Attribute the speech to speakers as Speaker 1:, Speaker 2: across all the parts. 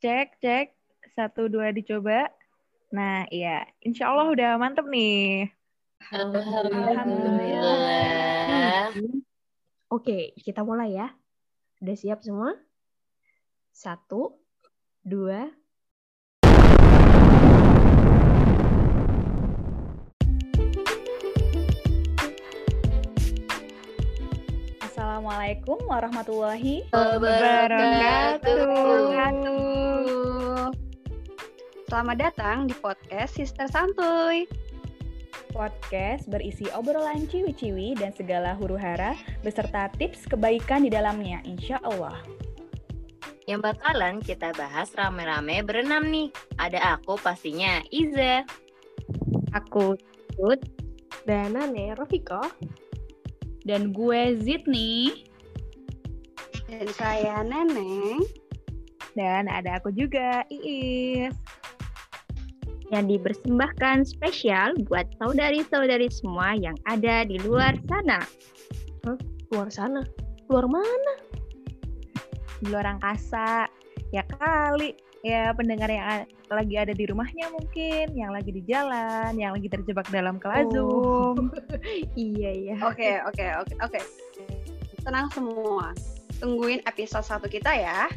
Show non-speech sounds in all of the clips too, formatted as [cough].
Speaker 1: Cek, cek. Satu, dua, dicoba. Nah, iya. Insya Allah udah mantep nih.
Speaker 2: Alhamdulillah.
Speaker 3: Oke, kita mulai ya. Udah siap semua? Satu, dua.
Speaker 4: Assalamualaikum warahmatullahi
Speaker 1: Wabarakatuh.
Speaker 5: Selamat datang di podcast Sister Santuy.
Speaker 4: Podcast berisi obrolan ciwi-ciwi dan segala huru hara beserta tips kebaikan di dalamnya, insya Allah.
Speaker 2: Yang bakalan kita bahas rame-rame berenam nih. Ada aku pastinya, Iza.
Speaker 5: Aku Tut.
Speaker 3: Dan Nane Rofiko.
Speaker 4: Dan gue Zid nih.
Speaker 5: Dan saya Neneng.
Speaker 1: Dan ada aku juga, Iis.
Speaker 6: yang dipersembahkan spesial buat saudari-saudari semua yang ada di luar sana.
Speaker 3: Luar sana. Luar mana?
Speaker 1: Di luar angkasa. Ya kali. Ya pendengar yang a- lagi ada di rumahnya mungkin, yang lagi di jalan, yang lagi terjebak dalam kelazum.
Speaker 3: Oh.
Speaker 1: [laughs]
Speaker 3: iya, iya.
Speaker 5: Oke, oke, oke, oke. Tenang semua. Tungguin episode 1 kita ya.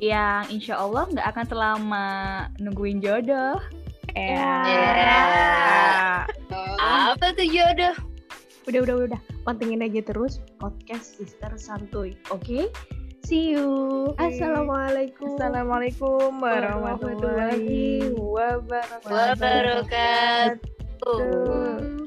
Speaker 4: Yang insya Allah nggak akan selama nungguin jodoh.
Speaker 1: Iya.
Speaker 2: Ya. Apa tuh jodoh?
Speaker 3: Udah, udah, udah. Pantengin aja terus podcast Sister Santuy. Oke? See you. Assalamualaikum.
Speaker 1: Assalamualaikum warahmatullahi
Speaker 3: wabarakatuh.
Speaker 2: Wabarakatuh.
Speaker 1: wabarakatuh.